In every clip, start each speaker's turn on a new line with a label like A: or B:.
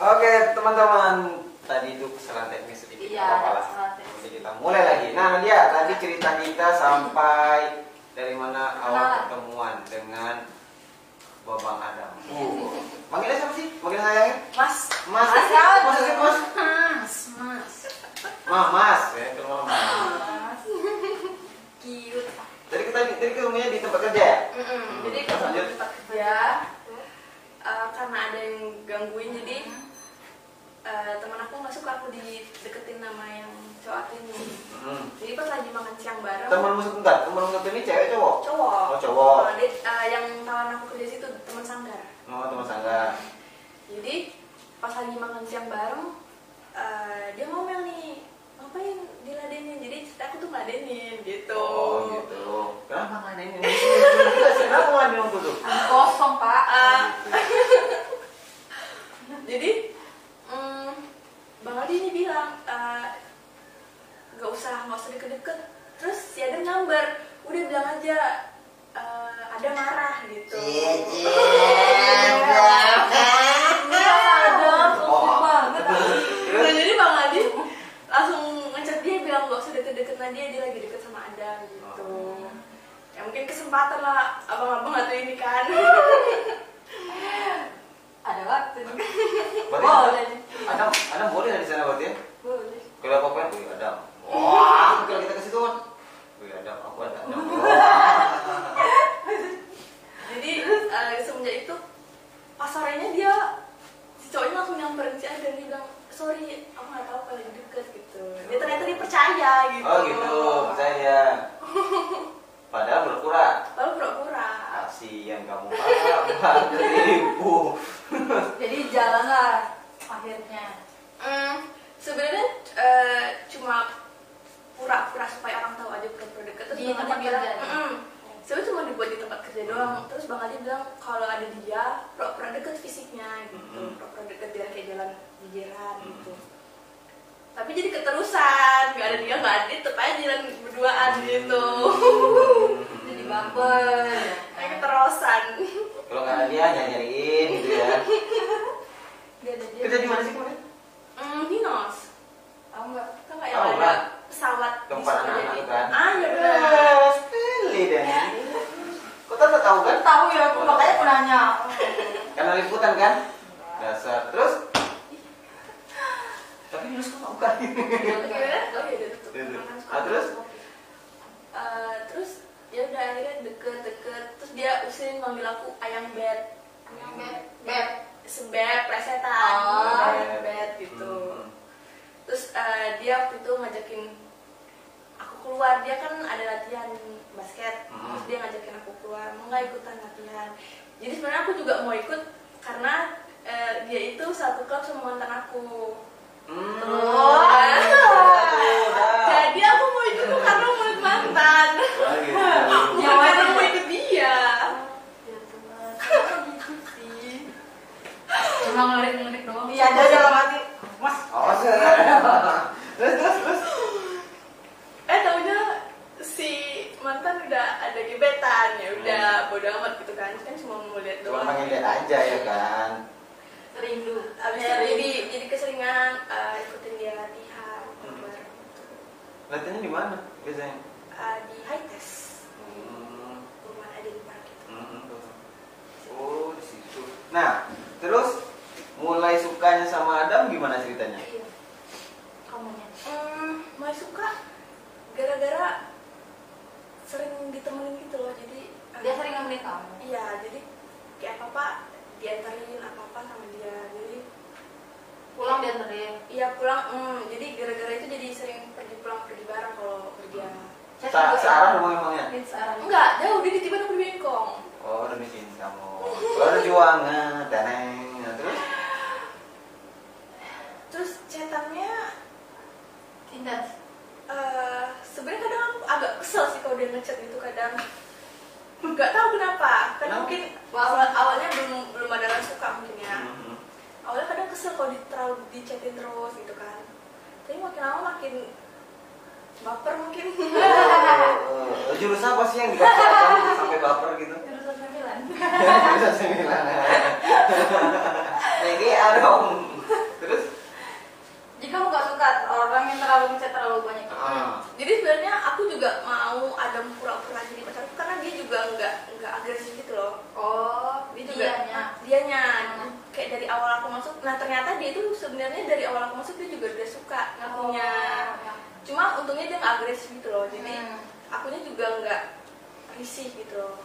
A: Oke teman-teman, tadi itu kesalahan teknis sedikit
B: Iya,
A: nggak apa-apa lah.
B: kesalahan teknis.
A: Nanti kita mulai lagi. Nah Nadia, tadi cerita kita sampai dari mana awal
B: Kenalan.
A: pertemuan dengan Babang Adam.
B: Iya.
A: Uh, manggilnya siapa sih? Manggilnya sayangnya?
B: Mas,
A: Mas, Mas,
B: Mas,
A: Mas, Mas.
B: Mas, Mas,
A: Mah, Mas. Ya, kalau Mas.
B: Mas. Cute.
A: Jadi kita jadi ketemunya di tempat kerja ya?
B: Mm-mm. Jadi
A: Terus
B: kalau
A: lanjut.
B: tempat kerja eh, karena ada yang gangguin jadi eh, teman aku nggak suka aku dideketin sama yang cowok aku ini.
A: Hmm.
B: Jadi pas lagi makan siang bareng
A: Temanmu sebentar, temanmu satu ini cewek cowok?
B: cowok.
A: Oh, cowok.
B: Eh, dia- eh, yang kawan aku kerja situ teman sanggar.
A: Oh, teman sanggar.
B: Jadi pas lagi makan siang bareng eh, dia ngomel nih ngapain diladenin jadi aku tuh ngeladenin gitu.
A: Oh, gitu. Kenapa ngadain ini? Kenapa ngadain waktu itu?
C: kosong pak
B: Ah. jadi mm, bang Aldi ini bilang eh, nggak usah nggak usah deket-deket terus si Adam nyamber udah bilang aja eh, ada marah gitu
A: Iya.
B: iya.
C: Adam
A: Oh.
C: kosong banget
B: Nah, jadi bang Aldi langsung ngechat dia bilang nggak usah deket-deket Nadia dia lagi deket sama Adam gitu ya mungkin kesempatan lah abang-abang atau ini kan
C: ada waktu
A: Berarti
C: boleh
A: Adam, Adam boleh nggak di sana berarti ya?
B: boleh
A: Kalau apa kan, wih Adam. Wah, kalau kita ke situ kan, wih Adam, aku ada Adam. Wah.
B: jadi eh, semenjak itu pas sorenya dia si cowoknya langsung nyamperin si Adam dia bilang sorry aku nggak tahu kalau lagi deket gitu dia ternyata dipercaya gitu
A: Oh gitu, percaya. Padahal berkurang.
B: lalu pura-pura
A: Nah, Kasihan kamu, parah banget ibu.
C: jadi jalan lah akhirnya
B: Hmm, sebenarnya eh, cuma pura-pura supaya orang tahu aja pura-pura deket terus
C: Di
B: Bang Adi
C: tempat
B: bilang,
C: kerja.
B: "Mm-mm." sebenarnya cuma dibuat di tempat kerja doang terus bang Adi bilang kalau ada dia pura-pura deket fisiknya gitu
A: Mm.
B: pura-pura deket biar kayak jalan jalan
A: Mm.
B: gitu tapi jadi keterusan nggak ada dia nggak ada dia tetap aja jalan berduaan gitu
C: jadi baper ya
B: kayak
C: kan?
B: keterusan
A: Kalau nggak ada dia nyari-nyariin gitu ya.
C: Dia ada dia.
A: Kerja di mana sih kemarin?
B: hmm, Hinos
C: Tahu nggak?
B: tau nggak yang
A: Tahu
B: ada
A: lah.
B: pesawat di
A: Tempat
B: sana
A: anak-anak
B: jadi-
A: kan?
B: ah ya benar
A: Eh, Pilih deh. Kau tak tahu kan?
C: tahu ya aku makanya aku nanya
A: Karena liputan kan? Dasar. Terus? Tapi terus kok bukan?
B: Gimana? Oh, iya, dia tutup.
A: Tutup.
B: Makan suka.
A: Ah, terus?
B: Eh, terus ya udah akhirnya deket-deket terus dia usin manggil aku ayam bed
C: Ayam bed? Bed.
B: sebet plesetan
C: Oh,
B: ayam bed Ah, gitu
A: Hmm.
B: terus eh, dia waktu itu ngajakin aku keluar dia kan ada latihan basket
A: Hmm.
B: terus dia ngajakin aku keluar mau nggak ikutan latihan jadi sebenarnya aku juga mau ikut karena eh, dia itu satu klub sama mantan aku
A: Hmm.
B: Terus.
A: iya. Udah.
B: jadi aku mau ikut tuh karena mau ikut mantan
A: Wah, gitu.
B: Bukan
C: Yang
B: karena
C: mana?
B: mau ikut dia
C: Ya Tuhan.
B: sih
C: cuma ngelirik-ngelirik doang
B: Iya, ada dalam hati.
A: Mas. Oh, sudah. Terus terus terus.
B: eh taunya si mantan udah ada gebetan ya udah bodo amat gitu kan kan cuma mau lihat
A: Hmm. Cuma
B: doang
A: pengen lihat aja ya kan.
C: rindu
B: abis
C: Iya,
B: itu Iya, jadi jadi keseringan eh, ikutin dia latihan
A: Hmm.
B: bareng.
A: Latihannya di mana biasanya?
B: Eh, di high test
A: Hmm.
B: rumah gitu. ada di parkir
A: Mm-mm. Oh, di situ. Nah, terus mulai sukanya sama Adam gimana ceritanya?
B: Iya.
C: kamunya
B: Hmm, mulai suka gara-gara sering ditemenin gitu loh jadi eh,
C: dia sering nemenin kamu
B: Iya, jadi kayak apa-apa diantarin apa-apa sama dia. Jadi
C: pulang dia sering
B: iya pulang, hmm, jadi gara-gara itu jadi sering pergi pulang pergi bareng kalau kerja.
A: Se searah rumah emangnya?
C: Mungkin searah
B: Enggak, jauh dia tiba-tiba aku di Bengkong.
A: Oh, demi cintamu. Perjuangan, teneng. Nah, terus?
B: Terus chatannya
C: intens
B: eh sebenarnya kadang aku agak kesel sih kalau dia ngechat gitu kadang nggak tahu
A: Kenapa?
B: kenapa karena mungkin awal awalnya belum belum ada yang suka mungkin ya
A: Mhm.
B: awalnya kadang kesel kalau di, terlalu dichatin terus gitu kan tapi makin lama makin baper mungkin
A: Oh, oh, Jurusan apa sih yang dipakai Adam sampai baper gitu?
C: jurusan sembilan
A: Jurusan sembilan. Nah, ini dong.
C: suka orang yang terlalu ngechat terlalu banyak
A: Ah.
B: Jadi sebenarnya aku juga mau Adam pura-pura jadi pacar aku karena dia juga nggak nggak agresif gitu loh.
C: oh
B: Dia juga
C: dianya.
B: Ah, dianya
C: Hmm.
B: kayak dari awal aku masuk. Nah ternyata dia itu sebenarnya dari awal aku masuk dia juga udah suka ngakunya. Cuma untungnya dia nggak agresif gitu loh. Jadi
C: Oh. Hmm. Hmm.
B: akunya juga nggak risih gitu loh.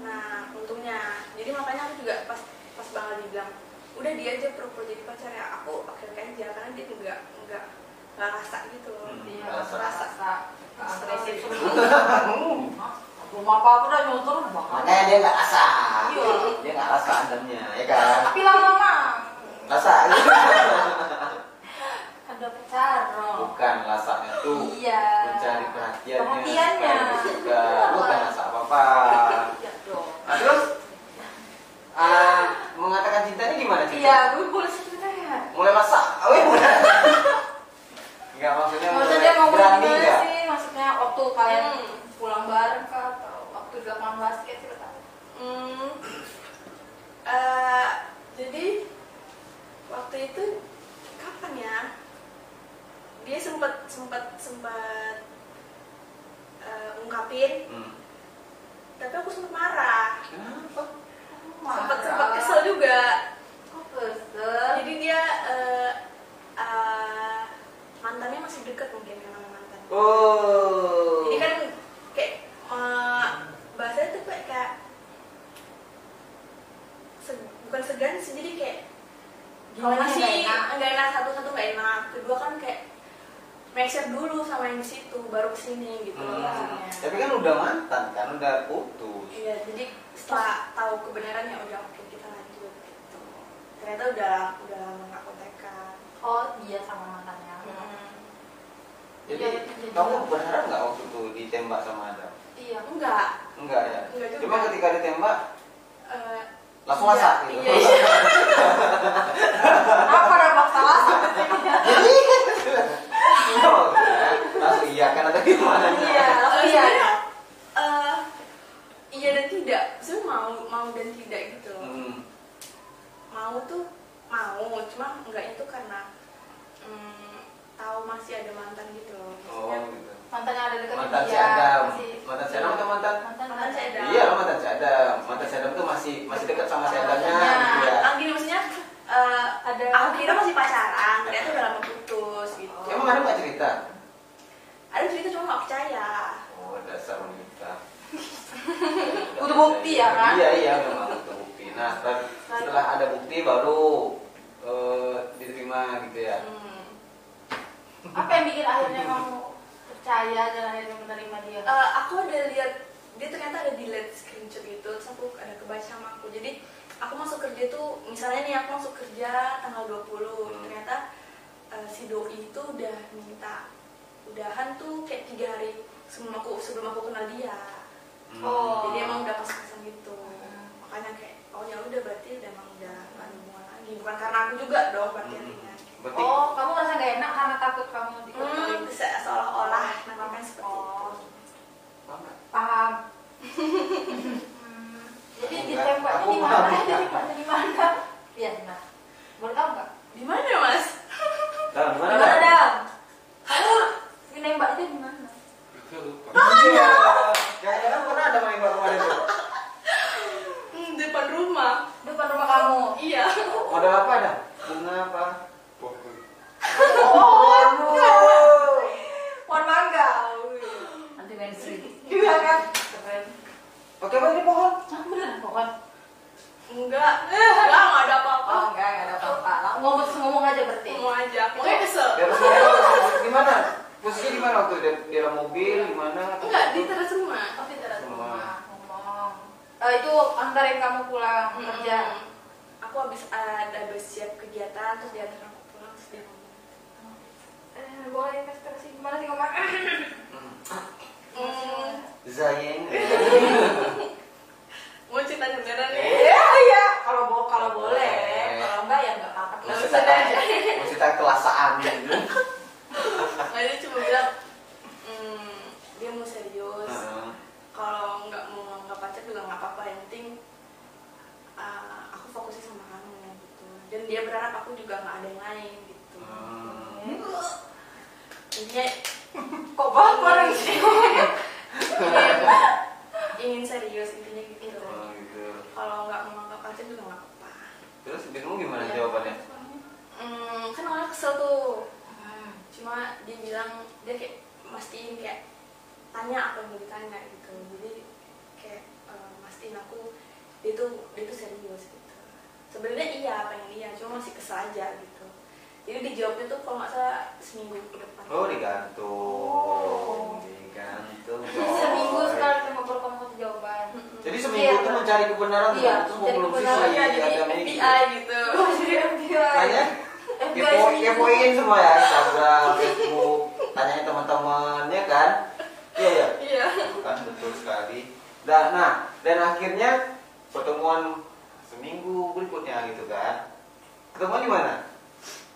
B: Nah untungnya. Jadi makanya aku juga pas pas banget dibilang udah dia aja pura-pura jadi pacar ya aku oke-oke aja karena dia nggak nggak nggak rasa gitu loh.
A: Hmm.
C: Iya,
A: Rasa.
C: rasa.
B: Rasa.
C: Agresif semua. Hah? Belum apa-apa udah nyontor bakal.
A: Makanya Eh, dia nggak rasa.
C: Iya.
A: Dia nggak rasa adamnya, ya kan?
C: Tapi lama-lama
A: Rasa.
C: ada pacar. Ro.
A: Bukan rasa itu
C: Iya.
A: mencari perhatiannya.
C: Perhatiannya.
A: supaya disuka. Bukan rasa apa-apa.
C: Iya dong.
A: Nah, terus ah, mengatakan cinta ini gimana cinta?
C: Iya, gue boleh ya. sebenarnya.
A: Mulai masak. Oh, iya, mulai. Enggak maksudnya
C: Maksudnya dia mau
A: berani
C: gimana
A: nggak?
C: sih? Maksudnya waktu kalian
B: Hmm.
C: pulang bareng kah? Atau waktu zaman basket gitu kan?
B: Hmm, eh, jadi waktu itu kapan ya? Dia sempat sempat sempat eh, ungkapin,
A: Hmm.
B: tapi aku sempat marah,
A: Kenapa?
B: sempat sempat kesel juga.
C: Kok kesel?
B: Jadi dia eh, eh, mantannya masih deket mungkin sama mantan.
A: Oh.
B: Jadi kan kayak eh, bahasanya tuh kayak, kayak se- bukan segan sih jadi kayak kalau
C: Gimana
B: masih
C: nggak enak?
B: nggak enak satu satu nggak enak kedua kan kayak make sure dulu sama yang di situ baru kesini gitu
A: Hmm.
B: rasanya.
A: Tapi kan udah mantan kan, udah putus.
B: iya jadi setelah tahu kebenarannya udah oke kita lanjut gitu ternyata udah udah lama nggak kontekan
C: Oh, dia sama mantannya.
B: Hmm.
A: Jadi
C: Iya, iya, iya.
A: kamu berharap nggak waktu itu ditembak sama Adam?
C: Iya.
B: enggak
A: Enggak ya.
B: Enggak juga.
A: Cuma ketika ditembak
B: eh,
A: langsung
B: Iya,
A: masak gitu.
B: iya, iya.
C: Apa ada masalah sama dia?
A: Oh, iya. langsung iya kan atau gimana?
C: Iya,
B: Eh,
C: langsung iya.
B: sebenarnya, eh, iya dan tidak Maksudnya mau mau dan tidak gitu loh
A: Hmm.
B: mau tuh mau cuma enggaknya tuh karena mm, tahu masih ada mantan gitu loh
C: Iya.
A: Oh,
B: Maksudnya,
A: gitu.
C: Mantannya ada deketin
A: Mantan si
C: dia,
A: Adam.
C: masih-
A: Mantan si Adam atau mantan?
C: Mantan
B: Mantan si Adam.
A: Iya, lah mantan si Adam. Mantan si Adam tuh masih masih dekat sama si Adamnya.
C: Iya.
A: gitu ya.
B: Nah, gini maksudnya eh,
C: Ada.
B: aku kira masih pacaran, ternyata udah lama putus gitu.
C: Oh.
A: Emang Adam nggak cerita?
B: Ada cerita cuma nggak percaya.
A: Oh, dasar wanita.
C: Butuh bukti ya, kan?
A: Iya, iya, memang butuh bukti. Nah, setelah, setelah ada bukti baru eh, diterima gitu ya.
B: Hmm.
C: Apa yang bikin akhirnya kamu percaya dan akhirnya menerima dia?
B: Eh, aku ada lihat dia ternyata ada di lihat screenshot gitu, terus aku ada kebaca sama aku. Jadi aku masuk kerja tuh, misalnya nih aku masuk kerja tanggal 20,
A: Hmm.
B: ternyata eh, si doi itu udah minta udahan tuh kayak tiga hari sebelum aku sebelum aku kenal dia.
A: Hmm.
C: Oh.
B: jadi emang udah pas-pasan gitu
C: Hmm.
B: makanya kayak oh ya udah berarti udah emang udah nggak ada hubungan lagi bukan karena aku juga dong berarti
A: Hmm.
B: artinya
A: Berarti
C: Oh, kamu ngerasa gak enak karena takut kamu dikotorin.
B: hmm, se- seolah-olah namanya seperti
C: Oh,
B: itu
A: paham nggak?
C: paham. Hmm, Jadi
A: Enggak,
C: ditembaknya
A: aku
C: di mana?
A: paham.
C: Dari mana? Di mana? Iya, nah. Boleh tahu nggak?
B: di mana mas
A: Dan
C: Di
A: gimana
C: mana,
A: Dam?
C: Dam? Kamu nembaknya di mana?
A: Iya. Kayaknya kan pernah ada main warung ada tuh.
B: hmm, depan rumah
C: Depan rumah kamu.
B: iya
A: Modal apa ada? Bunga apa? Pohon.
C: Oh,
A: Waduh.
C: pohon mangga. Anti mainstream. Iya kan? Keren.
A: Pakai apa ini pohon?
C: Ah, beneran pohon.
B: enggak enggak nggak ada apa-apa
C: Oh, enggak, enggak ada apa-apa. Lang- Ngomong Oh. ngomong aja berarti.
B: mau aja makanya kesel
A: Di atas mobil. Gimana? Posisi di mana waktu itu? Di- Di dalam mobil gimana?
B: enggak di teras rumah
C: Oh, di teras
A: Rumah.
C: rumah. Ngomong. Eh, itu antarin kamu pulang kerja.
B: kerja Hmm. aku habis ada habis siap kegiatan terus dia antar aku pulang terus dia ngomong
C: Eh, boleh investasi gimana sih ngomong?
A: Hmm.
B: hmm,
A: Zayeng.
C: Eh.
B: mau cerita beneran nih
A: Eh.
C: Iya, iya. Kalau bo kalau boleh,
A: Boleh.
C: kalau enggak ya enggak apa-apa.
A: Mau
C: Nggak
A: cerita
C: usah deh.
A: mau cerita kelasaan
C: Eh.
A: gitu.
B: Nah, dia cuma bilang "Mm, dia mau serius.
A: Heeh.
B: Kalau nggak mau nggak pacar juga nggak apa-apa. Yang penting eh, uh, aku fokusnya sama kamu gitu. Dan dia berharap aku juga nggak ada yang
A: Ah.
B: intinya
C: Kok
B: Oh,
C: baper sih?
B: ingin, Iya. ingin serius intinya gitu
A: Oh, gitu.
B: kalau nggak mau nganggap pacar juga nggak apa-apa
A: Terus bingung gimana
C: Iya.
A: jawabannya?
B: hmm, kan orang kesel tuh cuma dia bilang dia kayak mastiin kayak tanya apa yang mau ditanya gitu jadi kayak eh, mastiin aku dia tuh dia tuh serius gitu sebenarnya iya pengen iya cuma masih kesel aja gitu jadi dijawabnya tuh kalau nggak salah seminggu ke depan
A: Oh digantung,
C: Oh.
A: digantung.
C: Seminggu
A: coy.
C: sekali kita ngobrol kamu kasih jawaban.
B: Mm-mm.
A: Jadi seminggu
C: Iya.
A: tuh mencari kebenaran
C: Iya,
A: tuh
C: mencari
A: belum
C: kebenaran, kan?
A: siswa
B: iya jadi FBI gitu
C: Wah, jadi FBI.
A: Tanya,
C: FBI
A: kepo,
C: sih.
A: kepoin semua ya Instagram, Facebook, tanyain teman-temannya kan? Iya ya.
B: iya
A: Bukan betul sekali. Dan nah dan akhirnya pertemuan seminggu berikutnya gitu kan? Ketemu di mana?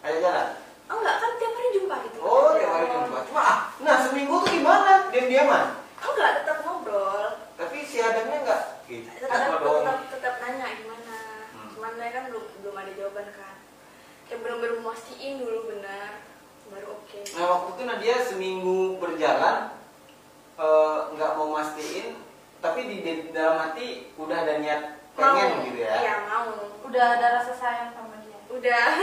A: Ayo jalan.
B: oh enggak kan tiap hari jumpa gitu
A: Oh, tiap hari jumpa. Cuma, ah, nah seminggu tuh gimana? Diam-diaman.
B: oh enggak tetap ngobrol
A: Tapi si Adamnya enggak gitu.
B: tetap
A: Sama
B: tetap,
A: dong.
B: tetap, nanya gimana
A: Hmm.
B: cuman saya kan belum belum ada jawaban kan kayak benar-benar mastiin dulu benar baru oke
A: Nah waktu itu Nadia seminggu berjalan eh, nggak mau mastiin, tapi di, di dalam hati udah ada niat pengen
B: Mau.
A: gitu ya.
B: iya mau
C: Udah ada rasa sayang sama dia.
B: udah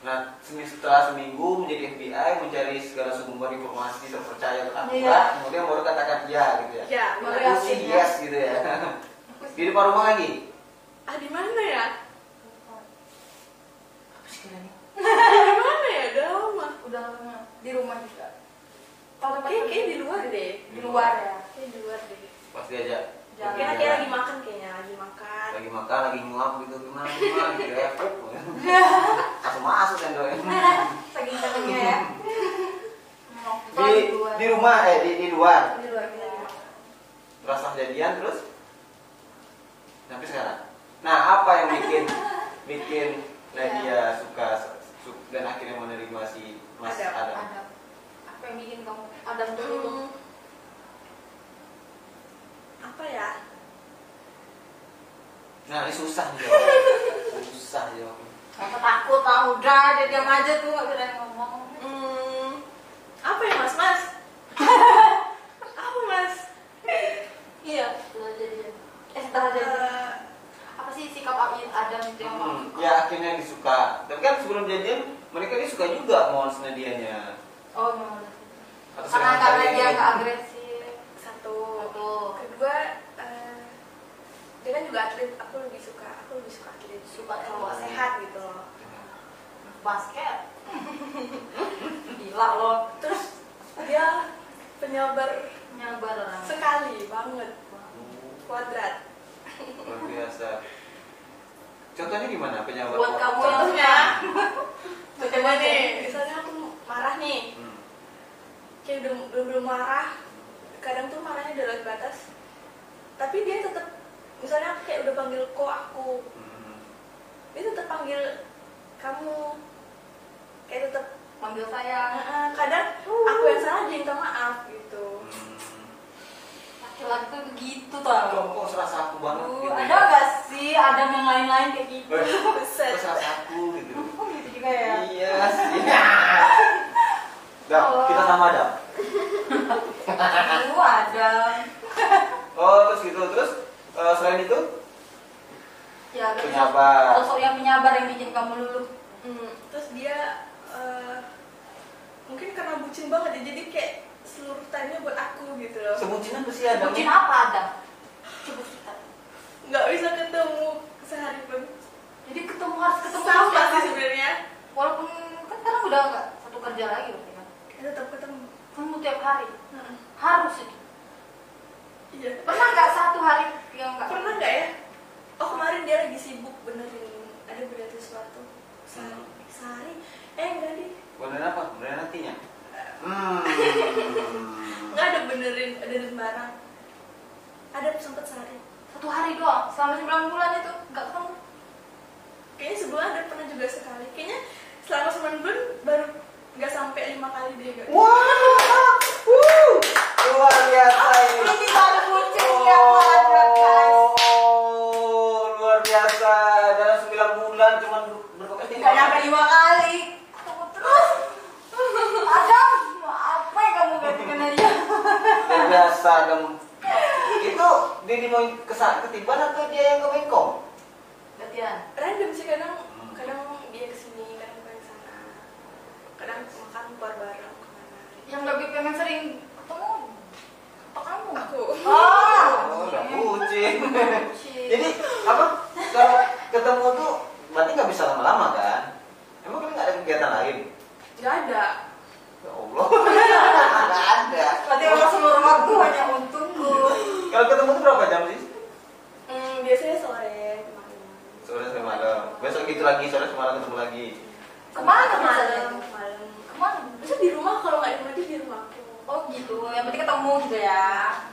A: Nah semi- setelah seminggu menjadi FBI mencari segala sumber informasi terpercaya atau akurat,
C: Iya.
A: kemudian baru katakan iya gitu ya.
B: ya
A: Aku
C: Baru
B: baru
A: sih
C: yakin ya.
A: yes gitu ya. di depan rumah lagi.
B: ah di mana ya
A: Apa sih kalian?
B: di mana ya udah lama
C: Udah lama di rumah juga. Kalau tempat
B: kayak kayak
C: kerja-
B: di luar deh
C: di luar ya.
B: kayak di luar deh
A: Pas diajak.
C: Jalan.
B: kayaknya kayak lagi makan kayaknya lagi makan
A: lagi makan lagi nguap gitu gimana gimana gitu ya langsung masuk kan, sendoknya
C: Saking senengnya ya. Nonton
A: di
C: luar.
A: di rumah eh di, di luar
B: di luar kayak lagi makan
A: terasa jadian terus sampai sekarang nah apa yang bikin bikin Nadia suka su- dan akhirnya menerima si Mas
B: Adam.
A: Adam
C: Adam. Apa yang bikin kamu Adam tuh dulu?
B: Hmm. apa ya
A: nah ini susah nih susah jawabnya
C: Apa takut ah udah dia diam aja tuh nggak berani ngomong.
B: hmm, apa ya mas mas apa mas
C: Iya. Setelah jadian. Eh setelah jadian.
B: Eh,
C: Apa sih sikap Adam itu yang kamu
A: Hmm, ya akhirnya disuka tapi kan sebelum jadian mereka ini suka juga mons Nadianya
C: Oh, nyaman.
A: Atau
C: Karena
A: senang
C: karena
A: kali
C: dia
A: ini.
C: nggak agresif.
B: satu
C: Satu.
B: kedua eh, dia kan juga atlet aku lebih suka aku lebih suka atlet
C: Suka
B: Eh,
C: cowok.
B: sehat gitu loh
C: Basket. Gila loh.
B: terus dia penyabar
C: Nyabar orang.
B: sekali banget kuadrat
A: Oh, luar biasa contohnya gimana penyabar
C: Buat kamu yang
B: Contohnya.
C: Coba deh.
B: misalnya aku marah nih
A: Hmm.
B: kayak belum belum, belum marah kadang tuh marahnya udah lewat batas tapi dia tetap misalnya aku kayak udah panggil kok aku
A: Hmm.
B: dia tetap panggil kamu kayak tetap
C: Manggil saya.
B: "Ah, ah." kadang aku yang salah dia yang minta maaf gitu
A: Hmm.
C: Laki-laki tuh begitu
A: Kok,
C: tau.
A: kok serasa aku banget
C: Aduh,
A: gitu
C: ada gak sih Adam yang lain-lain kayak gitu?
A: Eh,
B: Buset.
A: Kok serasa aku gitu
C: Oh gitu juga ya.
A: Iya sih Dah,
C: Oh.
A: kita sama ada
C: Aduh, Adam.
A: Oh terus gitu, terus eh, selain itu
C: Ya, terus
A: Penyabar
C: Sosok yang penyabar yang bikin kamu luluh.
B: Mm, terus dia eh, mungkin karena bucin banget ya jadi kayak seluruh time-nya buat aku gitu loh
A: Sebutin apa sih ada
C: Bucin apa Adam? Coba kita.
B: nggak bisa ketemu sehari pun
C: Jadi ketemu harus ketemu
B: sama
C: terus
B: sih
C: ya, kan?
B: sebenarnya
C: Walaupun kan sekarang udah nggak satu kerja lagi loh, kan?
B: tetap ketemu
C: Kamu tiap hari
B: Heeh.
C: harus itu.
B: iya
C: Pernah nggak satu hari yang nggak?
B: pernah nggak ya oh kemarin dia lagi sibuk benerin ada benerin sesuatu sehari sehari eh enggak deh
A: Beneran apa? Beneran nantinya? Hmm
B: nggak ada benerin benerin barang ada sempet sehari
C: Satu hari doang. Selama 9 bulan itu nggak ketemu.
B: kayaknya sebelum ada pernah juga sekali kayaknya selama sebulan bulan baru nggak sampai lima kali dia nggak
A: Wah, wuh, luar biasa ini.
C: Ini baru bucin yang ada guys.
A: Oh, luar biasa. Dalam 9 bulan cuman berapa kali?
C: Gak nyampe lima kali. Ketemu terus.
A: Salem itu dia mau kesan ketiban atau dia yang ke Bengkong?
C: Gantian.
B: random sih kadang kadang dia kesini kadang gue kesana kadang makan keluar bareng kemana
C: Yang lebih pengen sering ketemu apa kamu?
B: aku
C: Oh.
A: Oh, udah Iya, kucing.
C: Kucing.
A: Jadi apa? Kalau ketemu tuh berarti nggak bisa lama-lama kan? Emang kalian nggak ada kegiatan lain?
B: nggak ada
A: Ya Allah, nggak ada.
C: Berarti orang seluruh waktu hanya untukku.
A: Kalau ketemu tuh berapa jam sih?
B: hmm, biasanya sore kemarin
A: Sore sampai malam. Besok gitu lagi, sore sampai malam ketemu lagi.
C: Kemana
B: malam
C: malam?
B: malam
C: Kemana?
B: bisa di rumah kalau nggak di rumah dia di rumah aku
C: Oh gitu. Yang penting ketemu gitu ya.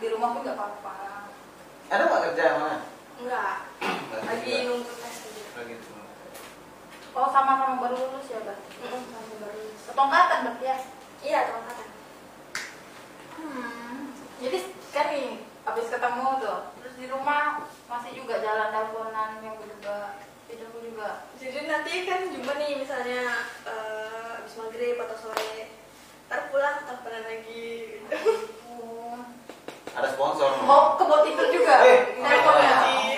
C: Di rumah pun nggak apa-apa.
A: Ada nggak kerja mana?
B: nggak
A: Nggak ada
B: lagi
A: juga.
B: nunggu tes aja
A: Lagi nunggu.
C: Oh sama-sama baru lulus ya, Bang?
B: Mm-mm, tahun baru lulus.
C: Setongkatan, Bang, ya?
B: iya tahun angkatan
C: Hmm. Jadi kan nih, habis ketemu tuh, terus di rumah masih juga jalan teleponan yang juga videoku juga.
B: jadi nanti kan jumpa nih misalnya eh, abis maghrib atau sore ntar pulang teleponan lagi
C: Oh,
A: Ada sponsor.
C: Mau ke bot Oh, tidur juga?
A: Eh, iya.
C: teleponnya.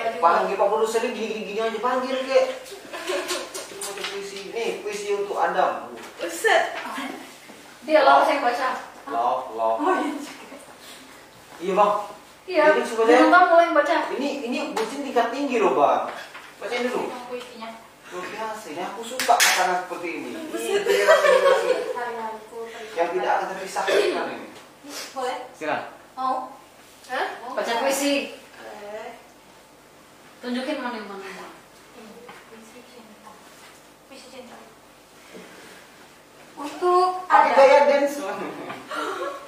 B: eh,
A: panggil pak produsernya gini-gini aja panggil kek. Mau ada puisi, nih puisi untuk Adam.
B: Buset.
D: Dia lolos yang baca.
A: Love, love.
C: Oh, iya juga.
A: Iya bang.
D: Iya.
A: Ini
D: Minum
A: sebenarnya
D: kamu yang baca.
A: ini ini bucin tingkat tinggi loh bang. Bacain dulu.
C: Yang puisinya.
A: Luar biasa ini aku suka makanan seperti ini. Ini generasi-generasi
C: Hari-hariku terlihat.
A: yang tidak akan terpisahkan kan ini.
C: Boleh?
A: Silakan.
C: Mau?
B: Hah?
C: Mau?
D: Baca puisi.
B: Eh,
D: Tunjukin mana yang mana.
C: Puisi cinta. Puisi cinta. Untuk
A: Pakai
C: Adam.
A: gaya dance.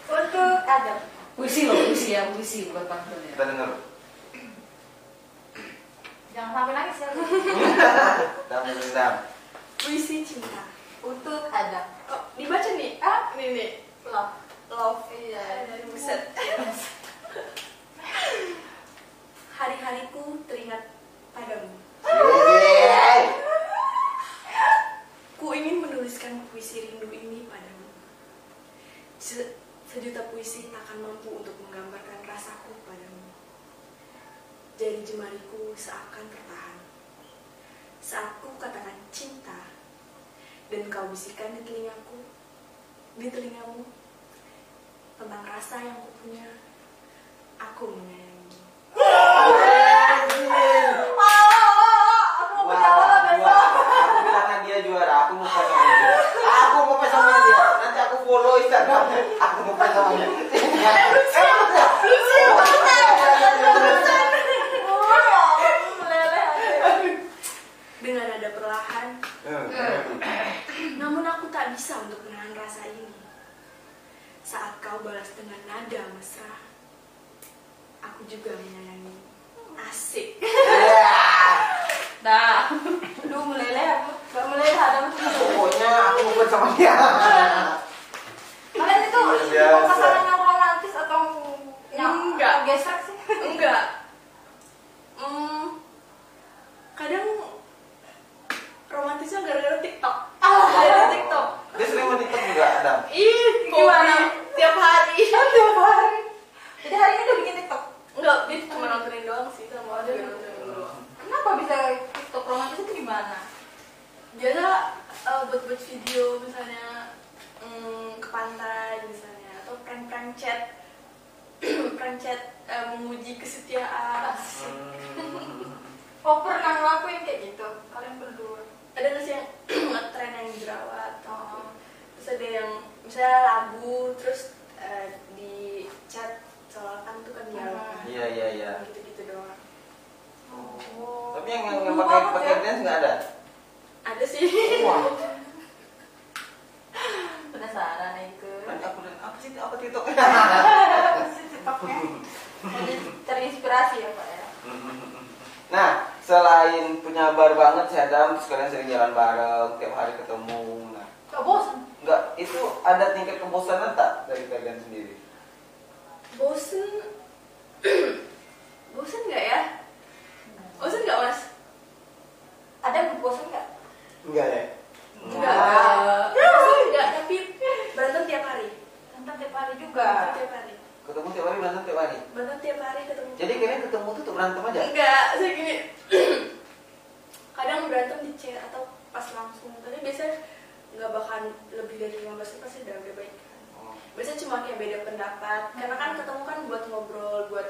C: Untuk Adam.
D: Puisi loh, puisi ya, puisi buat pantun ya.
A: Kita dengar.
C: Jangan sampai nangis ya. Bu.
A: Dam dam.
B: Puisi cinta.
C: Untuk Adam.
B: Oh, dibaca nih. Ah, nih nih.
C: Love.
B: Love.
C: Iya.
B: Buset. Hari-hariku teringat padamu.
A: Yeay.
B: Ku ingin menuliskan puisi rindu ini padamu. Se- sejuta puisi takkan mampu untuk menggambarkan rasaku padamu. Jari jemariku seakan tertahan. Saat ku katakan cinta, dan kau bisikkan di telingaku, di telingamu, tentang rasa yang kupunya, aku menyayangi.
C: Oh, aku mau berjalan
A: Wah,
C: besok.
A: Aku bilangnya dia juara, aku mau fight sama dia. Aku mau fight sama dia. Nanti aku follow Instagram. Aku mau fight sama dia. Eh, lucu. Lucu banget.
C: Oh, aku meleleh aja.
B: Dengan nada perlahan, Namun aku tak bisa untuk menahan rasa ini. Saat kau balas dengan nada mesra, aku juga menyayangi. Asik.
A: Ya,
D: Dah.
C: Aduh, meleleh aku. Gak meleleh Adam.
A: Pokoknya aku mau fight sama dia.
C: Kalian itu
A: Luar biasa.
C: mau pasangan yang romantis atau yang
B: Enggak.
C: gesek sih?
B: Enggak. Hmm, kadang romantisnya gara-gara TikTok. Ah, gara TikTok.
A: Dia sering main TikTok juga, Adam.
B: Ih,
C: Gimana?
B: boy, Oh, Tiap hari.
C: Aduh, hari. Jadi hari ini udah bikin TikTok. Oh. Iya.
B: Enggak, dia cuma nontonin doang sih sama
C: Aduh.
B: dia nontonin doang.
C: Kenapa bisa TikTok romantis itu gimana?
B: biasa eh, buat-buat video misalnya mm, ke pantai misalnya atau prank-prank chat prank chat eh, menguji kesetiaan
C: Oh, pernah ngelakuin kayak gitu? Kalian berdua?
B: ada nggak sih yang ngetren yang jerawat
C: Oh.
B: terus ada yang misalnya lagu terus eh, di chat soalkan tuh kan dialog
A: Iya, iya, iya.
B: gitu-gitu doang
C: Oh.
A: Tapi yang yang pakai
C: Lupa banget
A: pakai
C: ya.
A: dance nggak ada.
B: ada sih
A: Wah,
C: Penasaran ya itu.
A: nanti aku lihat apa sih apa TikTok?
C: Terus TikToknya. Jadi terinspirasi ya Pak ya.
A: Nah, selain penyabar banget si Adam, terus kalian sering jalan bareng, tiap hari ketemu. Nah,
C: Gak bosan.
A: nggak itu ada tingkat kebosanan tak dari kalian sendiri?
B: bosen bosen nggak ya bosen nggak mas
C: Ada yang bosan nggak?
A: Enggak ya.
B: Enggak. Bosen Enggak, tapi berantem tiap hari.
C: Tentang tiap hari juga.
B: Tiap hari.
A: Ketemu tiap hari, berantem tiap berantem aja
B: Enggak, saya gini Kadang berantem di chat atau pas langsung Tapi biasanya nggak bakalan lebih dari 15 menit pasti udah udah baik
A: Oh,
B: Biasanya cuma kayak beda pendapat Karena kan ketemu kan buat ngobrol, buat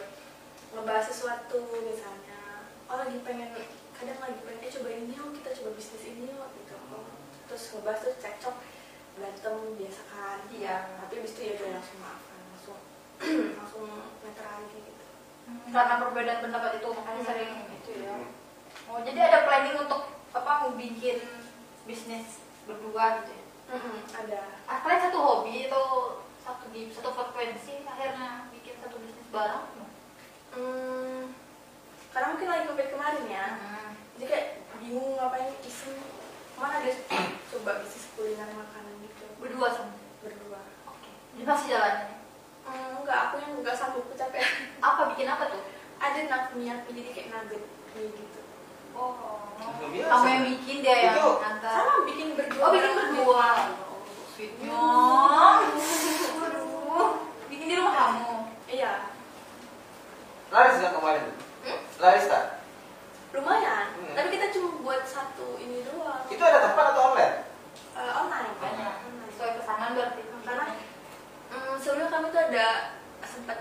B: ngebahas sesuatu misalnya Oh lagi pengen, kadang lagi pengen eh, coba ini yuk, kita coba bisnis ini yuk gitu Terus ngebahas terus cekcok berantem biasa kan
C: Iya.
B: Tapi abis itu ya udah langsung maafan, langsung langsung meter lagi gitu
C: Hmm. karena perbedaan pendapat itu makanya
B: Hmm.
C: sering itu ya
A: Hmm.
C: oh jadi ada planning untuk apa mau bikin bisnis berdua gitu ya
B: Mm-mm, ada
C: Ah, kalian satu hobi atau satu di satu frekuensi akhirnya bikin satu bisnis bareng
B: Hmm, karena mungkin lagi covid kemarin ya,
C: Hmm.
B: jadi kayak bingung ngapain iseng mana ada coba bisnis kuliner makanan gitu
C: berdua sama
B: berdua.
C: oke jadi masih jalannya
B: Hmm, enggak aku yang enggak sanggup aku capek.
C: apa bikin apa tuh
B: ada nak minyak jadi kayak nugget mie gitu.
C: oh
A: biasa.
C: kamu yang bikin dia yang
A: Itu-
C: antar
B: Sama bikin berdua. Iya.
C: oh bikin berdua oh, sweetnya Aduh. bikin di rumah kamu
B: Iya,
A: laris nggak kemarin tuh
B: Hmm?
A: laris tak
B: lumayan.
C: Iya.
A: Hmm.
B: Tapi kita cuma buat satu ini doang.
A: itu ada tempat atau online
B: Eh, online.
C: banyak
B: Online.
C: Nah, sesuai pesanan berarti
B: Karena- Hmm, sebelumnya kami tuh ada sempat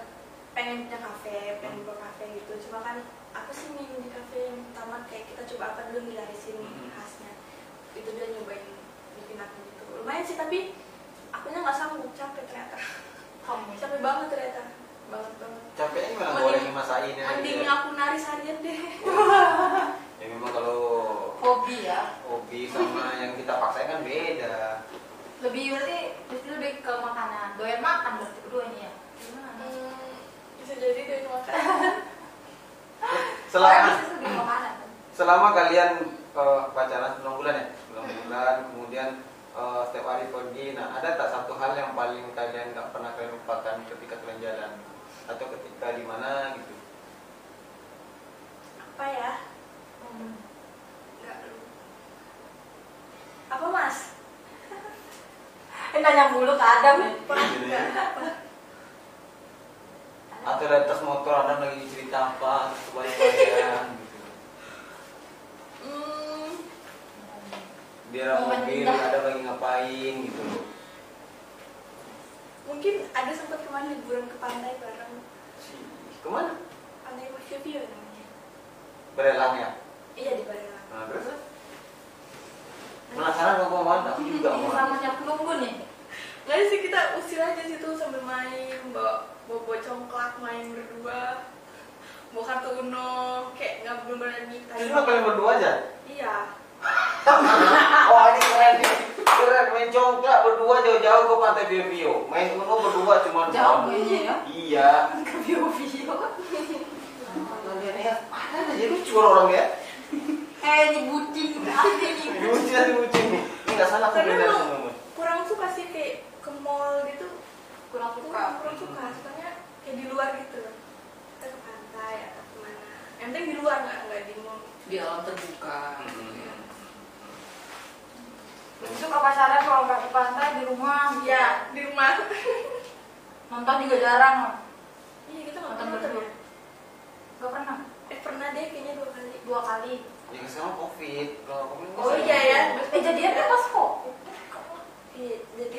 B: pengen punya kafe, pengen buka kafe gitu. Cuma kan aku sih minum di kafe yang pertama kayak kita coba apa dulu nih dari sini
A: Hmm.
B: khasnya. Itu dia nyobain bikin aku gitu. Lumayan sih tapi akunya nggak sanggup capek ternyata.
C: kamu
B: Capek banget ternyata. Banget banget.
A: capeknya gimana
B: Mending-
A: goreng masain dan
B: Mending
A: lain-lain.
B: aku nari harian deh.
A: gitu ya memang kalau
C: hobi ya
A: hobi sama yang kita paksain kan beda
C: lebih berarti berarti lebih ke makanan doyan makan berarti keduanya ya gimana
B: Hmm, bisa jadi kan. dari makan.
C: Orang
A: selama
C: bisnis lebih ke makanan kan?
A: selama kalian eh, pacaran 9 bulan ya 9 bulan kemudian eh, setiap hari pergi nah ada tak satu hal yang paling kalian nggak pernah kalian lupakan ketika kalian jalan atau ketika di mana gitu
B: apa ya?
C: Hmm.
B: Nggak lu. Apa mas?
C: Eh, nanya mulu ke Adam ya.
A: atau di atas motor ada lagi cerita apa kebalikannya gitu
B: Hmm,
A: dia dalam mobil ada lagi ngapain gitu
B: mungkin ada sempat kemarin liburan ke pantai bareng
A: Cih, kemana
B: pantai Wahyubiyo namanya
A: berelang ya
B: iya di Barelang
A: nah, terus penasaran sama mana aku juga
C: Ini
A: mau
C: sama nyapu nunggu nih.
B: nggak sih kita usir aja situ sambil main bawa bawa, bawa congklak main berdua bawa kartu uno kayak nggak belum berani nikah
A: Jadi cuma kalian berdua aja
B: iya
A: Wah ini keren nih Keren main congklak berdua jauh-jauh ke Pantai Bibio Main Uno berdua cuma
C: Jauh kayaknya ya.
A: Oh, Iya
C: Ke bio-bio.
A: Ada aja lucu orang ya
C: Eh, ini bucin. Asli ini bucin.
A: Lucu nanti lucu nih Ini gak salah aku
B: Karena
A: beda
B: emang
A: sama kamu
B: kurang suka sih kayak ke mall gitu
C: Kurang
B: kurang
C: suka.
B: kurang suka sukanya kayak di luar gitu kita ke pantai atau kemana yang penting di luar nggak nggak di mall
D: di alam terbuka
A: Hmm. Mm-hmm.
C: Lebih suka pacaran kalau nggak ke pantai di rumah.
B: iya di rumah
C: Nonton juga jarang. loh.
B: iya kita nggak
C: Nonton
B: pernah nonton
C: berdua.
B: ya
C: Nggak pernah.
B: eh pernah deh kayaknya dua kali
C: Dua kali.
A: Ya sekarang covid Kalau covid kan nggak
B: Oh
A: salah.
B: iya ya.
C: Eh, jadian kan pas kok.
B: Iya, jadi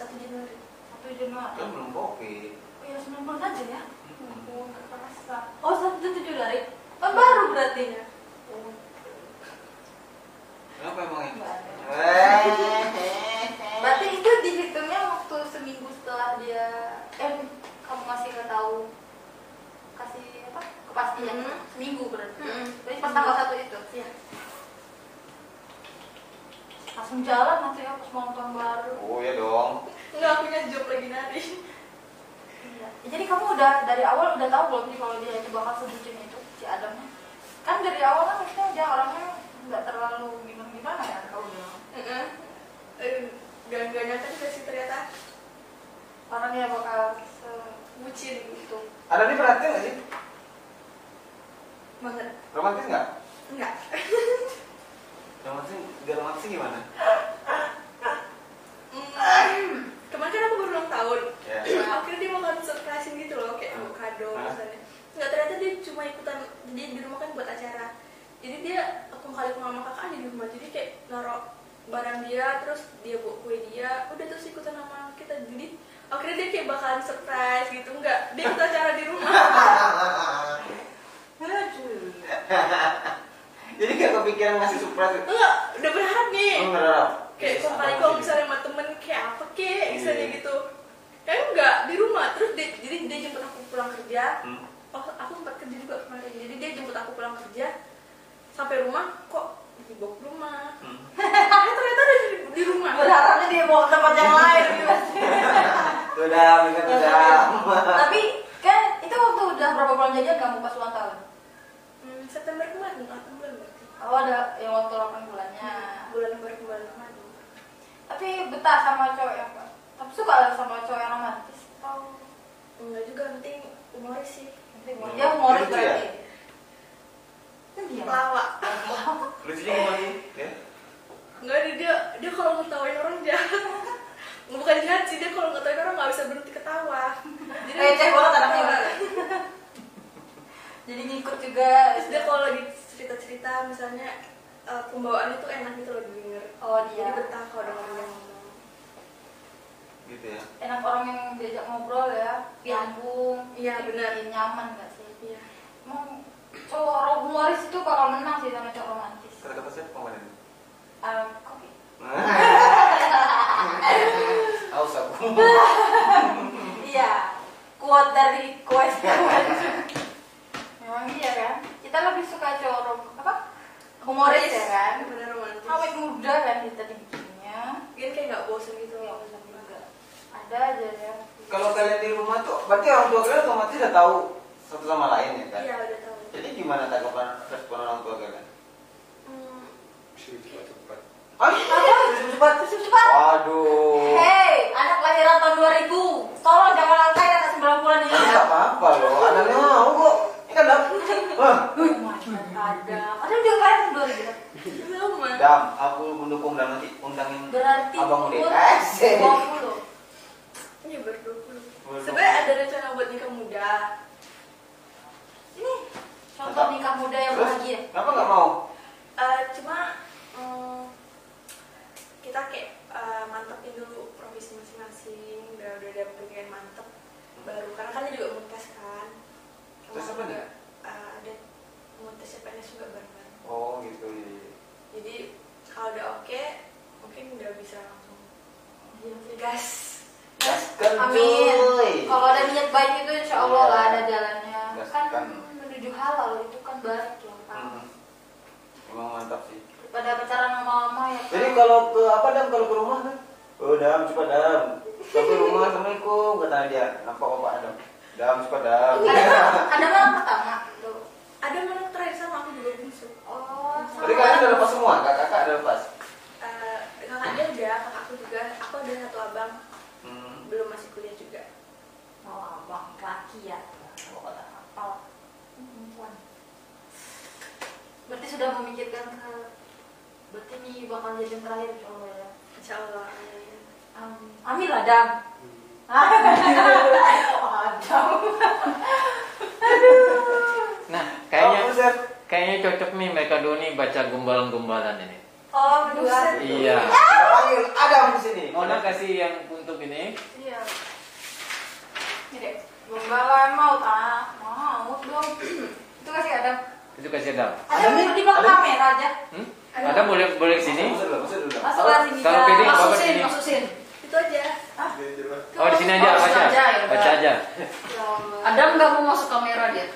B: satu Januari.
C: Satu Januari.
A: Kan belum covid
C: Oh ya, 19 aja ya.
A: Hmm.
C: Oh, nggak kerasa. Oh, satu tujuh dari. Oh, baru berarti ya. Oh,
A: Kenapa emangnya?
C: nggak ada.
A: Hehehe.
C: Berarti itu dihitungnya waktu seminggu setelah dia eh kamu masih nggak tahu kasih apa kepastian
B: Mhm.
C: seminggu berarti.
B: Mhm.
C: Berarti pas tanggal satu itu
B: Iya.
C: langsung jalan nanti ya pas mau tahun baru.
A: Oh iya dong
B: Enggak, aku punya job lagi nari.
C: Iya. Ya, Jadi kamu udah dari awal udah tahu belum sih kalau dia itu bakal sebutin itu si Adamnya? Kan dari awal kan maksudnya dia orangnya nggak terlalu gimana gimana ya kalau dia
B: Heeh. Gak gak nyangka juga sih ternyata
C: orangnya bakal se
B: bucin gitu.
C: itu.
A: Ada nih perhatian nggak sih?
B: banget.
A: Romantis nggak?
B: Enggak.
A: Romantis, gak romantis gimana?
B: Mm. Kemarin kan aku baru ulang tahun.
A: Ya
B: Akhirnya dia mau surprise gitu loh, kayak mau kado
A: Hah?
B: misalnya. Enggak ternyata dia cuma dia di rumah kan buat acara jadi dia aku kali ke mama kakak ada di rumah jadi kayak naruh barang dia terus dia bawa kue dia udah terus ikutan sama kita jadi akhirnya dia kayak bakalan surprise gitu enggak dia ikut acara di rumah
A: Jadi gak kepikiran ngasih surprise.
B: enggak udah berharap nih
A: Oh, enggak.
B: kayak kok kali kalau misalnya sama temen kayak apa kek misalnya
A: Iya.
B: gitu kayak enggak di rumah terus dia, jadi dia jemput aku pulang kerja
A: Hmm.
B: oh, aku sempat kerja juga kemarin jadi dia jemput aku pulang kerja sampai rumah kok dibawa ke rumah
A: Hmm.
B: eh ternyata ada di, di rumah
C: berharapnya dia bawa ke tempat yang lain gitu
A: Udah, mereka udah.
C: Iya, tapi kan itu waktu udah berapa bulan jadian kamu pas ulang tahun
B: hmm, September kemarin atau bulan berarti
C: oh ada yang waktu 8 bulannya
B: bulan baru bulan kemarin
C: tapi betah sama cowok yang tapi suka lah sama cowok yang romantis atau
B: Oh, enggak juga yang penting humoris sih
C: penting banget. dia humoris
A: Lucu ya?
C: berarti Kan dia.
B: lawak
A: Lucunya gimana sih? Ya?
B: enggak dia dia, dia kalau ngetawain orang jahat bukan jahat sih dia kalau ngetawain orang nggak bisa berhenti ketawa jadi
C: Receh banget anaknya.
B: ketawa.
C: jadi ngikut juga
B: Terus dia kalau lagi cerita-cerita misalnya eh, pembawaannya tuh enak gitu loh denger.
C: oh
B: Jadi
C: dia
B: betah kalau denger dia ngomong.
A: Gitu ya.
C: enak orang yang diajak ngobrol ya nyambung
B: Iya,
C: bikin
B: benar.
C: nyaman gak sih
B: Iya.
C: emang cowok humoris itu bakal menang sih sama cowok romantis
A: Kata-kata siapa kemarin?
C: Ah, kopi
A: Haus aku.
C: Iya, quote dari quote Memang iya kan? Kita lebih suka cowok rom- apa? Humoris ya kan?
B: Bener romantis.
C: Awet muda kan kita dibikinnya.
B: Mungkin kayak nggak bosen
C: Itu
B: gitu loh.
C: nggak usah juga. Ada aja ya.
A: Kalau kalian di rumah tuh, berarti orang tua kalian otomatis udah tahu satu sama lain ya kan?
B: Iya udah tahu.
A: Jadi gimana tanggapan respon orang tua kalian?
B: Hmm,
E: cepat-cepat
A: Ah, cepat.
C: Terus cepat.
A: Waduh.
C: Hei, anak lahiran tahun 2000. Tolong jangan langkai anak 9 bulan ini.
A: Tapi nggak apa-apa loh, anaknya mau kok. Ini kan dam. Wah,
C: Oh my God, Ada. Ada juga kayak 2000.
B: Iya, Sama.
A: dam. Aku mendukung dam nanti undangin
C: Berarti
A: abang Ude.
C: umur
A: Asik.
C: 20.
B: Ini baru 20.
A: Baru
B: Sebenarnya
A: 20.
B: ada rencana buat nikah muda.
C: Ini contoh nikah muda yang
A: Terus,
C: bahagia.
A: kenapa nggak mau?
B: Eh, cuma hmm, kita kayak eh, mantepin dulu profesi masing-masing. Udah udah ada pengen mantep baru karena kan dia juga mau tes kan. Sama
A: Tes apa nih?
B: juga, eh, ada mau tes CPNS juga bareng-bareng.
A: Oh gitu. iya, iya.
B: jadi kalau udah oke mungkin udah bisa langsung
C: Iya.
B: gas
A: Gaskan, kan, cuy.
C: Amin. Kalau ada niat baik itu insya Allah
A: Iya.
C: lah ada jalannya.
A: Gaskan.
C: Kan menuju halal itu kan baik ya. Pak.
A: Mhm. Emang mantap sih.
C: Daripada pacaran lama-lama ya. kan.
A: Jadi kalau ke apa dam kalau ke rumah kan? Oh dam cepat dam. Kalau ke rumah assalamualaikum kata dia. Nampak bapak adam. Dam cepat dam.
C: Kadang- kadang kan pertama tuh.
B: ada mana terakhir sama aku juga bungsu
C: Oh, sama.
A: Jadi kalian udah kan lepas semua, kakak-kakak udah lepas.
B: Eh, kakak dia udah kakak aku juga aku ada satu abang
A: Hmm.
B: belum masih kuliah juga
C: Oh, abang laki ya. Apa? Hmm, Perempuan. Berarti sudah memikirkan ke berarti ini bakal jadi yang terakhir insya Allah ya.
B: insya Allah
C: Amin. Amin lah Dam. Adam.
F: Nah,
A: Kamu
F: kayaknya
A: Seth?
F: kayaknya cocok nih mereka dua nih baca gombalan-gombalan ini.
C: Oh, berdua.
B: Buset.
F: Iya.
A: Kita panggil Adam di sini.
F: Mona kasih yang untuk ini.
C: Iya. Jadi gombalan maut ah, maut dong. Itu kasih ada
F: Itu kasih Adam.
C: ada
A: Ada
C: di belakang
A: ada.
C: kamera aja.
F: Hmm?
B: Ada.
F: Adam boleh boleh sini.
A: Masuk dulu, masuk dulu.
C: Masuk lah
A: Halo.
C: sini.
F: Kalau
C: Kak.
F: pilih, Bapak
D: Masukin,
F: sini.
D: masukin.
B: itu aja
E: dia jelas
F: Oh, di sini aja
D: Oh,
F: baca.
D: aja, ya udah.
F: Baca aja.
C: Ya Allah.
D: Adam nggak mau masuk kamera dia.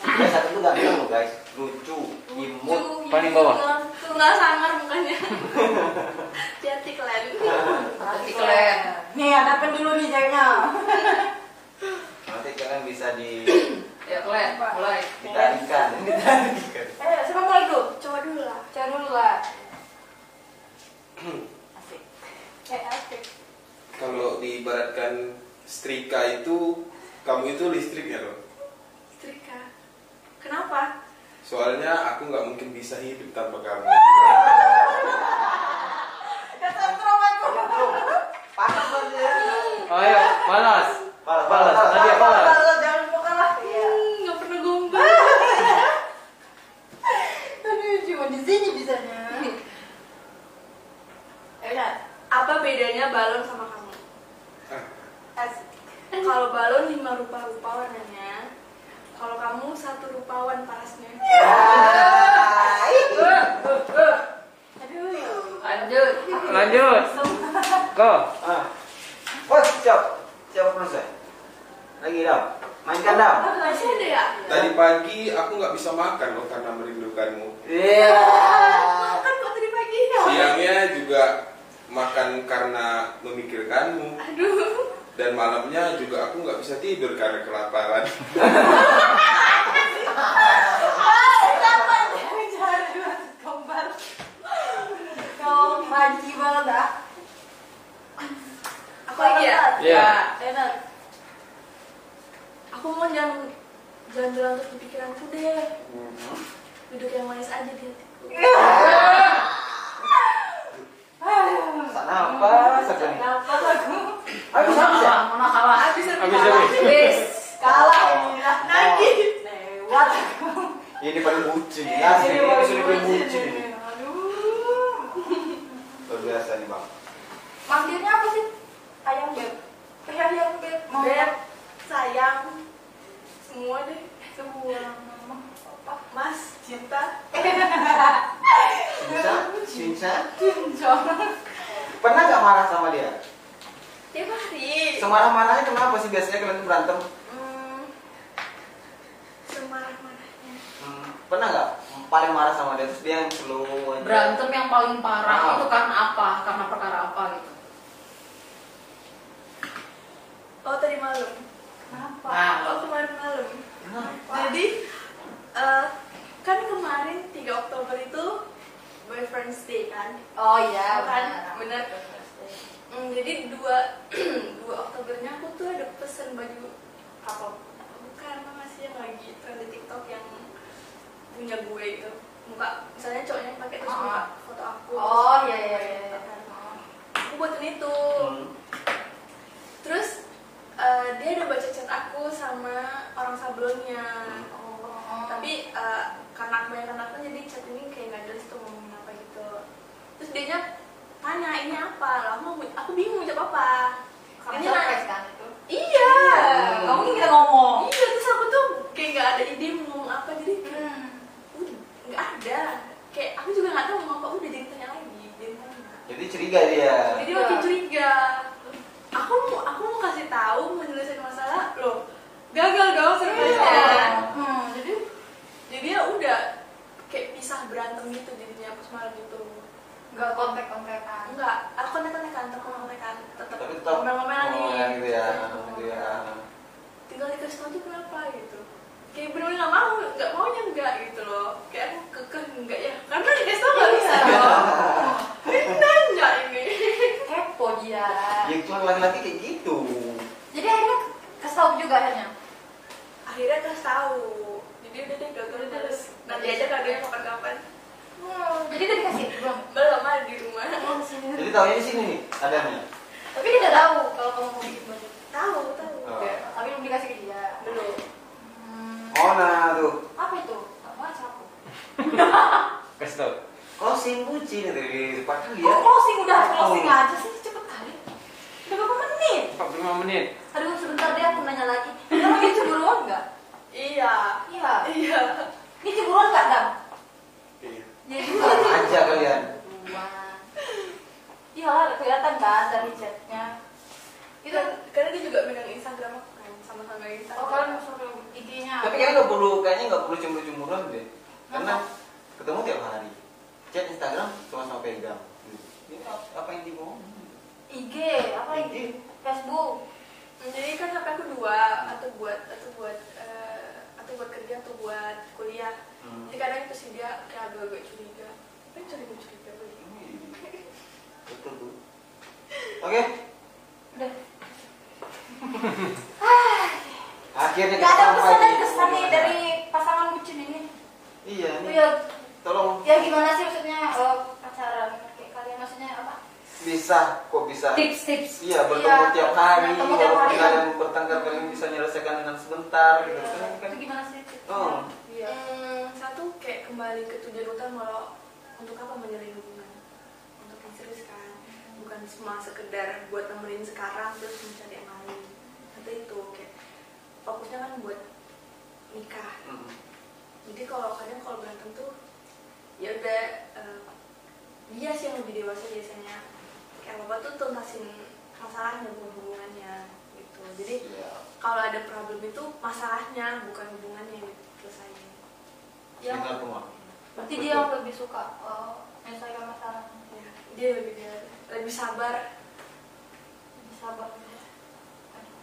A: Dia satu itu ganteng loh guys, lucu, imut.
B: Tuh,
F: Paling bawah.
B: tuh nggak iya. sangar mukanya cantik kalian
D: Tapi kalian.
C: Nih, hadapin dulu nih jengnya.
A: Nanti kalian bisa di
D: Ya kalian, mulai.
A: ditarikan, ditarikan.
C: Eh, siapa mulai dulu?
B: coba dulu lah
C: Coba dulu lah. Asik. Eh, asik.
E: kalau diibaratkan setrika itu kamu itu listrik ya loh
B: Trika kenapa
E: soalnya aku nggak mungkin bisa hidup tanpa kamu
C: Kata aku.
A: Panas banget ya.
F: Oh, Ayo, balas.
A: Balas,
F: Balas,
A: balas,
F: tadi
A: balas.
F: balas.
C: Jangan buka lah. Iya.
B: Hmm, nggak pernah gombal
C: Eh,
B: bedanya balon sama kamu?
C: Asik.
B: Kalau balon lima rupa-rupa warnanya, kalau kamu satu rupawan parasnya. Aduh. ya.
D: Lanjut.
F: Iya. Lanjut. Go.
A: Ah. Oh, siap. Siap selesai. Lagi dam. Mainkan dam.
B: Masih ada ya?
E: Tadi pagi aku nggak bisa makan loh karena merindukanmu.
A: Iya.
B: Makan kok tadi pagi ya?
E: Siangnya juga makan karena memikirkanmu
B: Aduh.
E: dan malamnya juga aku nggak bisa tidur karena kelaparan.
C: Gambar. Kau maji banget dah.
B: Aku lagi ya?
F: Iya.
C: Enak.
B: Aku mau jangan jangan berlanjut di pikiranku deh. Duduk yang manis aja di hatiku.
A: Kenapa? Satu nih.
C: Kenapa lagu?
A: Habis habis ya?
D: Kalah, mana kalah?
B: Habis
F: Habis habis.
D: Habis.
C: Kalah ini lah.
A: Nagih.
C: Lewat aku.
A: Oh, Ini paling bucin. Ya, ini
C: Ini
A: episode paling bucin. ini.
C: ini. Aduh.
A: Luar biasa nih, Bang.
C: Manggilnya apa sih? Ayang beb. Eh ayang beb. Mama.
B: Beb, sayang, semua deh, semua.
C: Mama. Papa.
B: Mas, cinta,
A: Cinta, cinta.
C: Tunjong.
A: Pernah nggak marah sama dia?
B: tiap hari.
A: Semarah-marahnya kenapa sih biasanya kalian tuh berantem?
B: Hmm, semarah-marahnya.
A: Hmm, pernah nggak paling marah sama dia terus dia yang slow aja.
D: Berantem yang paling
A: Ah.
D: parah itu karena apa? Karena perkara apa gitu?
B: Oh, tadi malam.
C: Kenapa?
D: Nah,
B: Oh, kemarin malam.
A: Kenapa?
B: Jadi, eh, kan kemarin 3 Oktober itu boyfriend's day kan?
C: Oh iya.
B: Bukan,
C: benar.
B: benar. Hmm, jadi 2, 2 Oktobernya aku tuh ada pesen baju
C: Apa?
B: bukan apa sih yang lagi tren di TikTok yang punya gue itu muka misalnya cowoknya pakai terus
C: Ah.
B: muka foto aku
C: Oh iya iya iya.
B: aku buatin itu
A: Hmm.
B: terus eh, dia udah baca chat aku sama orang sablonnya
C: Oh.
B: tapi eh, karena aku yang kenapa jadi chat ini kayak nggak jelas tuh ngomongin apa gitu terus dia tanya ini apa lah aku, aku bingung jawab apa
C: Kamu
B: Ini
C: surprise kan itu?
B: iya
A: Oh.
C: Kamu kita ngomong.
B: iya terus aku tuh kayak nggak ada ide mau ngomong apa jadi kayak udah nggak ada kayak aku juga nggak tahu mau apa udah jadi tanya lagi jadi
A: Iya.
B: tanya
A: Jadi curiga dia.
B: jadi makin curiga aku mau aku mau kasih tahu menyelesaikan masalah loh gagal dong surprise
A: Iya.
C: Hmm, jadi
B: jadi ya udah kayak pisah berantem gitu jadinya pas malam itu
C: nggak kontak-kontakan.
B: enggak aku kan kontak kontakan tetap kontakan tetap
A: Tapi tetap
B: ngomel-ngomelan nih
A: ngomelan gitu
B: Iya.
A: ya. Gitu ya.
B: tinggal dikasih tau tuh kenapa gitu kayak bener-bener nggak mau nggak maunya enggak gitu loh kayak aku kekeh enggak ya karena dikasih tau nggak bisa dong
C: Iya.
B: ini nanya ini
C: Kepo dia.
A: Ya cuma laki-laki kayak gitu.
C: Jadi akhirnya kesel juga akhirnya.
B: akhirnya terus tahu jadi udah deh gagal terus nanti aja kalian kapan-kapan
C: Hmm, jadi udah dikasih belum?
B: belum ada di rumah
A: Jadi tahunya di sini nih adanya.
C: Tapi dia udah tahu kalau kamu mau bikin baju.
B: tahu tahu
A: Oh.
C: Tapi belum dikasih ke dia.
B: belum
C: Hmm.
A: Oh nah tuh.
C: Apa itu? Apa sapu?
F: Kasih tau.
A: Closing bucin dari depan
C: Kok
A: dia.
C: closing udah closing
A: Oh.
C: aja sih cepet kali. Udah berapa menit?
F: 45 menit.
C: Aduh sebentar deh aku nanya lagi. Kamu dia cemburuan nggak?
B: iya
C: Iya.
B: iya
C: Ini cemburuan nggak Dam?
E: Iya.
C: Jadi
A: Sama aja kalian.
C: Iya lah kelihatan kan dari chatnya.
B: itu karena dia juga megang Instagram aku kan sama-sama Instagram
C: Iya. Oh kalian masuk ke IG-nya.
A: Tapi kayaknya nggak perlu kayaknya nggak perlu cemburu-cemburuan deh. Karena ketemu tiap hari. Chat Instagram cuma sama pegang. Ini ap- apa yang dibohong?
C: IG apa IG?
A: IG.
C: Facebook.
B: jadi kan HP aku dua atau buat atau buat eh, atau buat kerja atau buat kuliah
A: Hmm.
B: jadi kadang itu sih dia kayak agak-agak curiga kan curiga curiga begini
A: Betul tuh. Oke,
C: Udah.
A: akhirnya
C: Gak ada
A: sampai
C: pesan dan
A: di-
C: kesan nih dari pasangan bucin ini.
A: Iya
C: Itu
A: nih.
C: ya,
A: Tolong
C: ya gimana sih maksudnya eh, pacaran kayak kalian maksudnya apa?
A: bisa kok bisa.
D: Tips-tips.
A: Iya bertemu
C: Iya,
A: tiap hari,
C: bertemu tiap
A: walaupun
C: hari.
A: kalian bertengkar kalian bisa menyelesaikan dengan sebentar gitu kan.
C: Itu gimana sih?
A: Oh.
C: Iya.
B: Hmm, satu kayak kembali ke tujuan utama lo untuk apa menjalin hubungan untuk yang serius kan bukan bukan cuma sekedar buat nemenin sekarang terus mencari yang lain atau itu kayak fokusnya kan buat nikah
A: Mm.
B: jadi kalau kadang kalau berantem tuh ya udah eh, dia sih yang lebih dewasa biasanya kayak apa tuh tuntasin masalahnya bukan hubungannya gitu jadi
A: Iya.
B: kalau ada problem itu masalahnya bukan hubungannya yang diselesain
C: Ya.
A: Benar semua.
C: Berarti dia yang lebih suka eh, menyelesaikan masalahnya
B: Ya, dia lebih dia lebih sabar
C: lebih sabar. Aduh.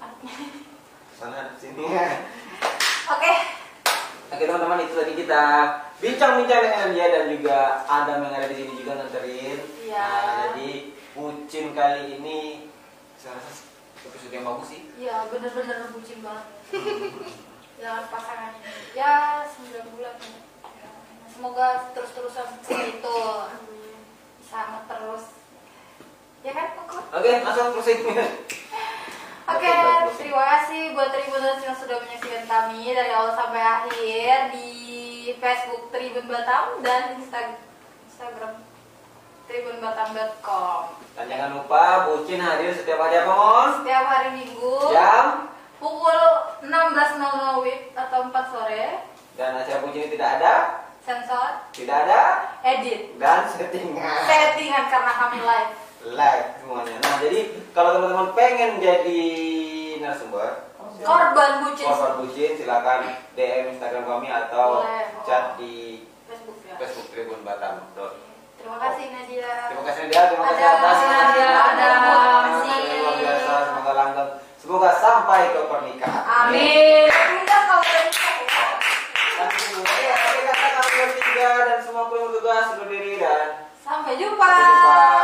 C: Anaknya.
A: Sana sini ya.
C: Oke.
A: Oke teman-teman itu tadi kita bincang-bincang dengan dia dan juga Adam yang ada di sini juga nganterin.
C: Iya.
A: Nah, jadi Ucin kali ini saya rasa episode yang bagus sih.
C: Ya bener-bener bucin banget. ya pasangan ini. Ya 9 bulan. ya. Ya, Semoga terus-terusan seperti itu sama terus. Ya kan Koko?
A: Oke, langsung closing.
C: Oke, terima kasih buat Tribuners yang sudah menyaksikan kami dari awal sampai akhir di Facebook Tribun Batam dan Insta- Instagram tribunbatam.com.
A: Dan jangan lupa Bucin hadir setiap hari apa Mon?
C: Setiap hari Minggu
A: Jam
C: pukul 16.00 WIB atau 4 sore
A: dan acara Bucin ini tidak ada,
C: sensor
A: tidak ada
C: edit
A: dan settingan.
C: settingan karena kami live.
A: Live semuanya. Nah, jadi kalau teman-teman pengen jadi narasumber,
C: Korban bucin
A: Korban bucin silakan DM Instagram kami atau
C: Boleh.
A: chat di
C: Facebook ya.
A: Facebook Tribun Batam. Betul.
C: Terima kasih Nadia.
A: Terima kasih Nadia, terima kasih
C: Ada,
A: atas
C: ada, ada.
A: Terima luar biasa, semoga langgeng. Semoga sampai ke pernikahan.
C: Amin. Udah kalau gitu udah.
A: Dan Iya, semoga ya, kami kata kami bertiga dan semua kru bertugas undur diri dan
C: Sampai jumpa.
A: sampai jumpa.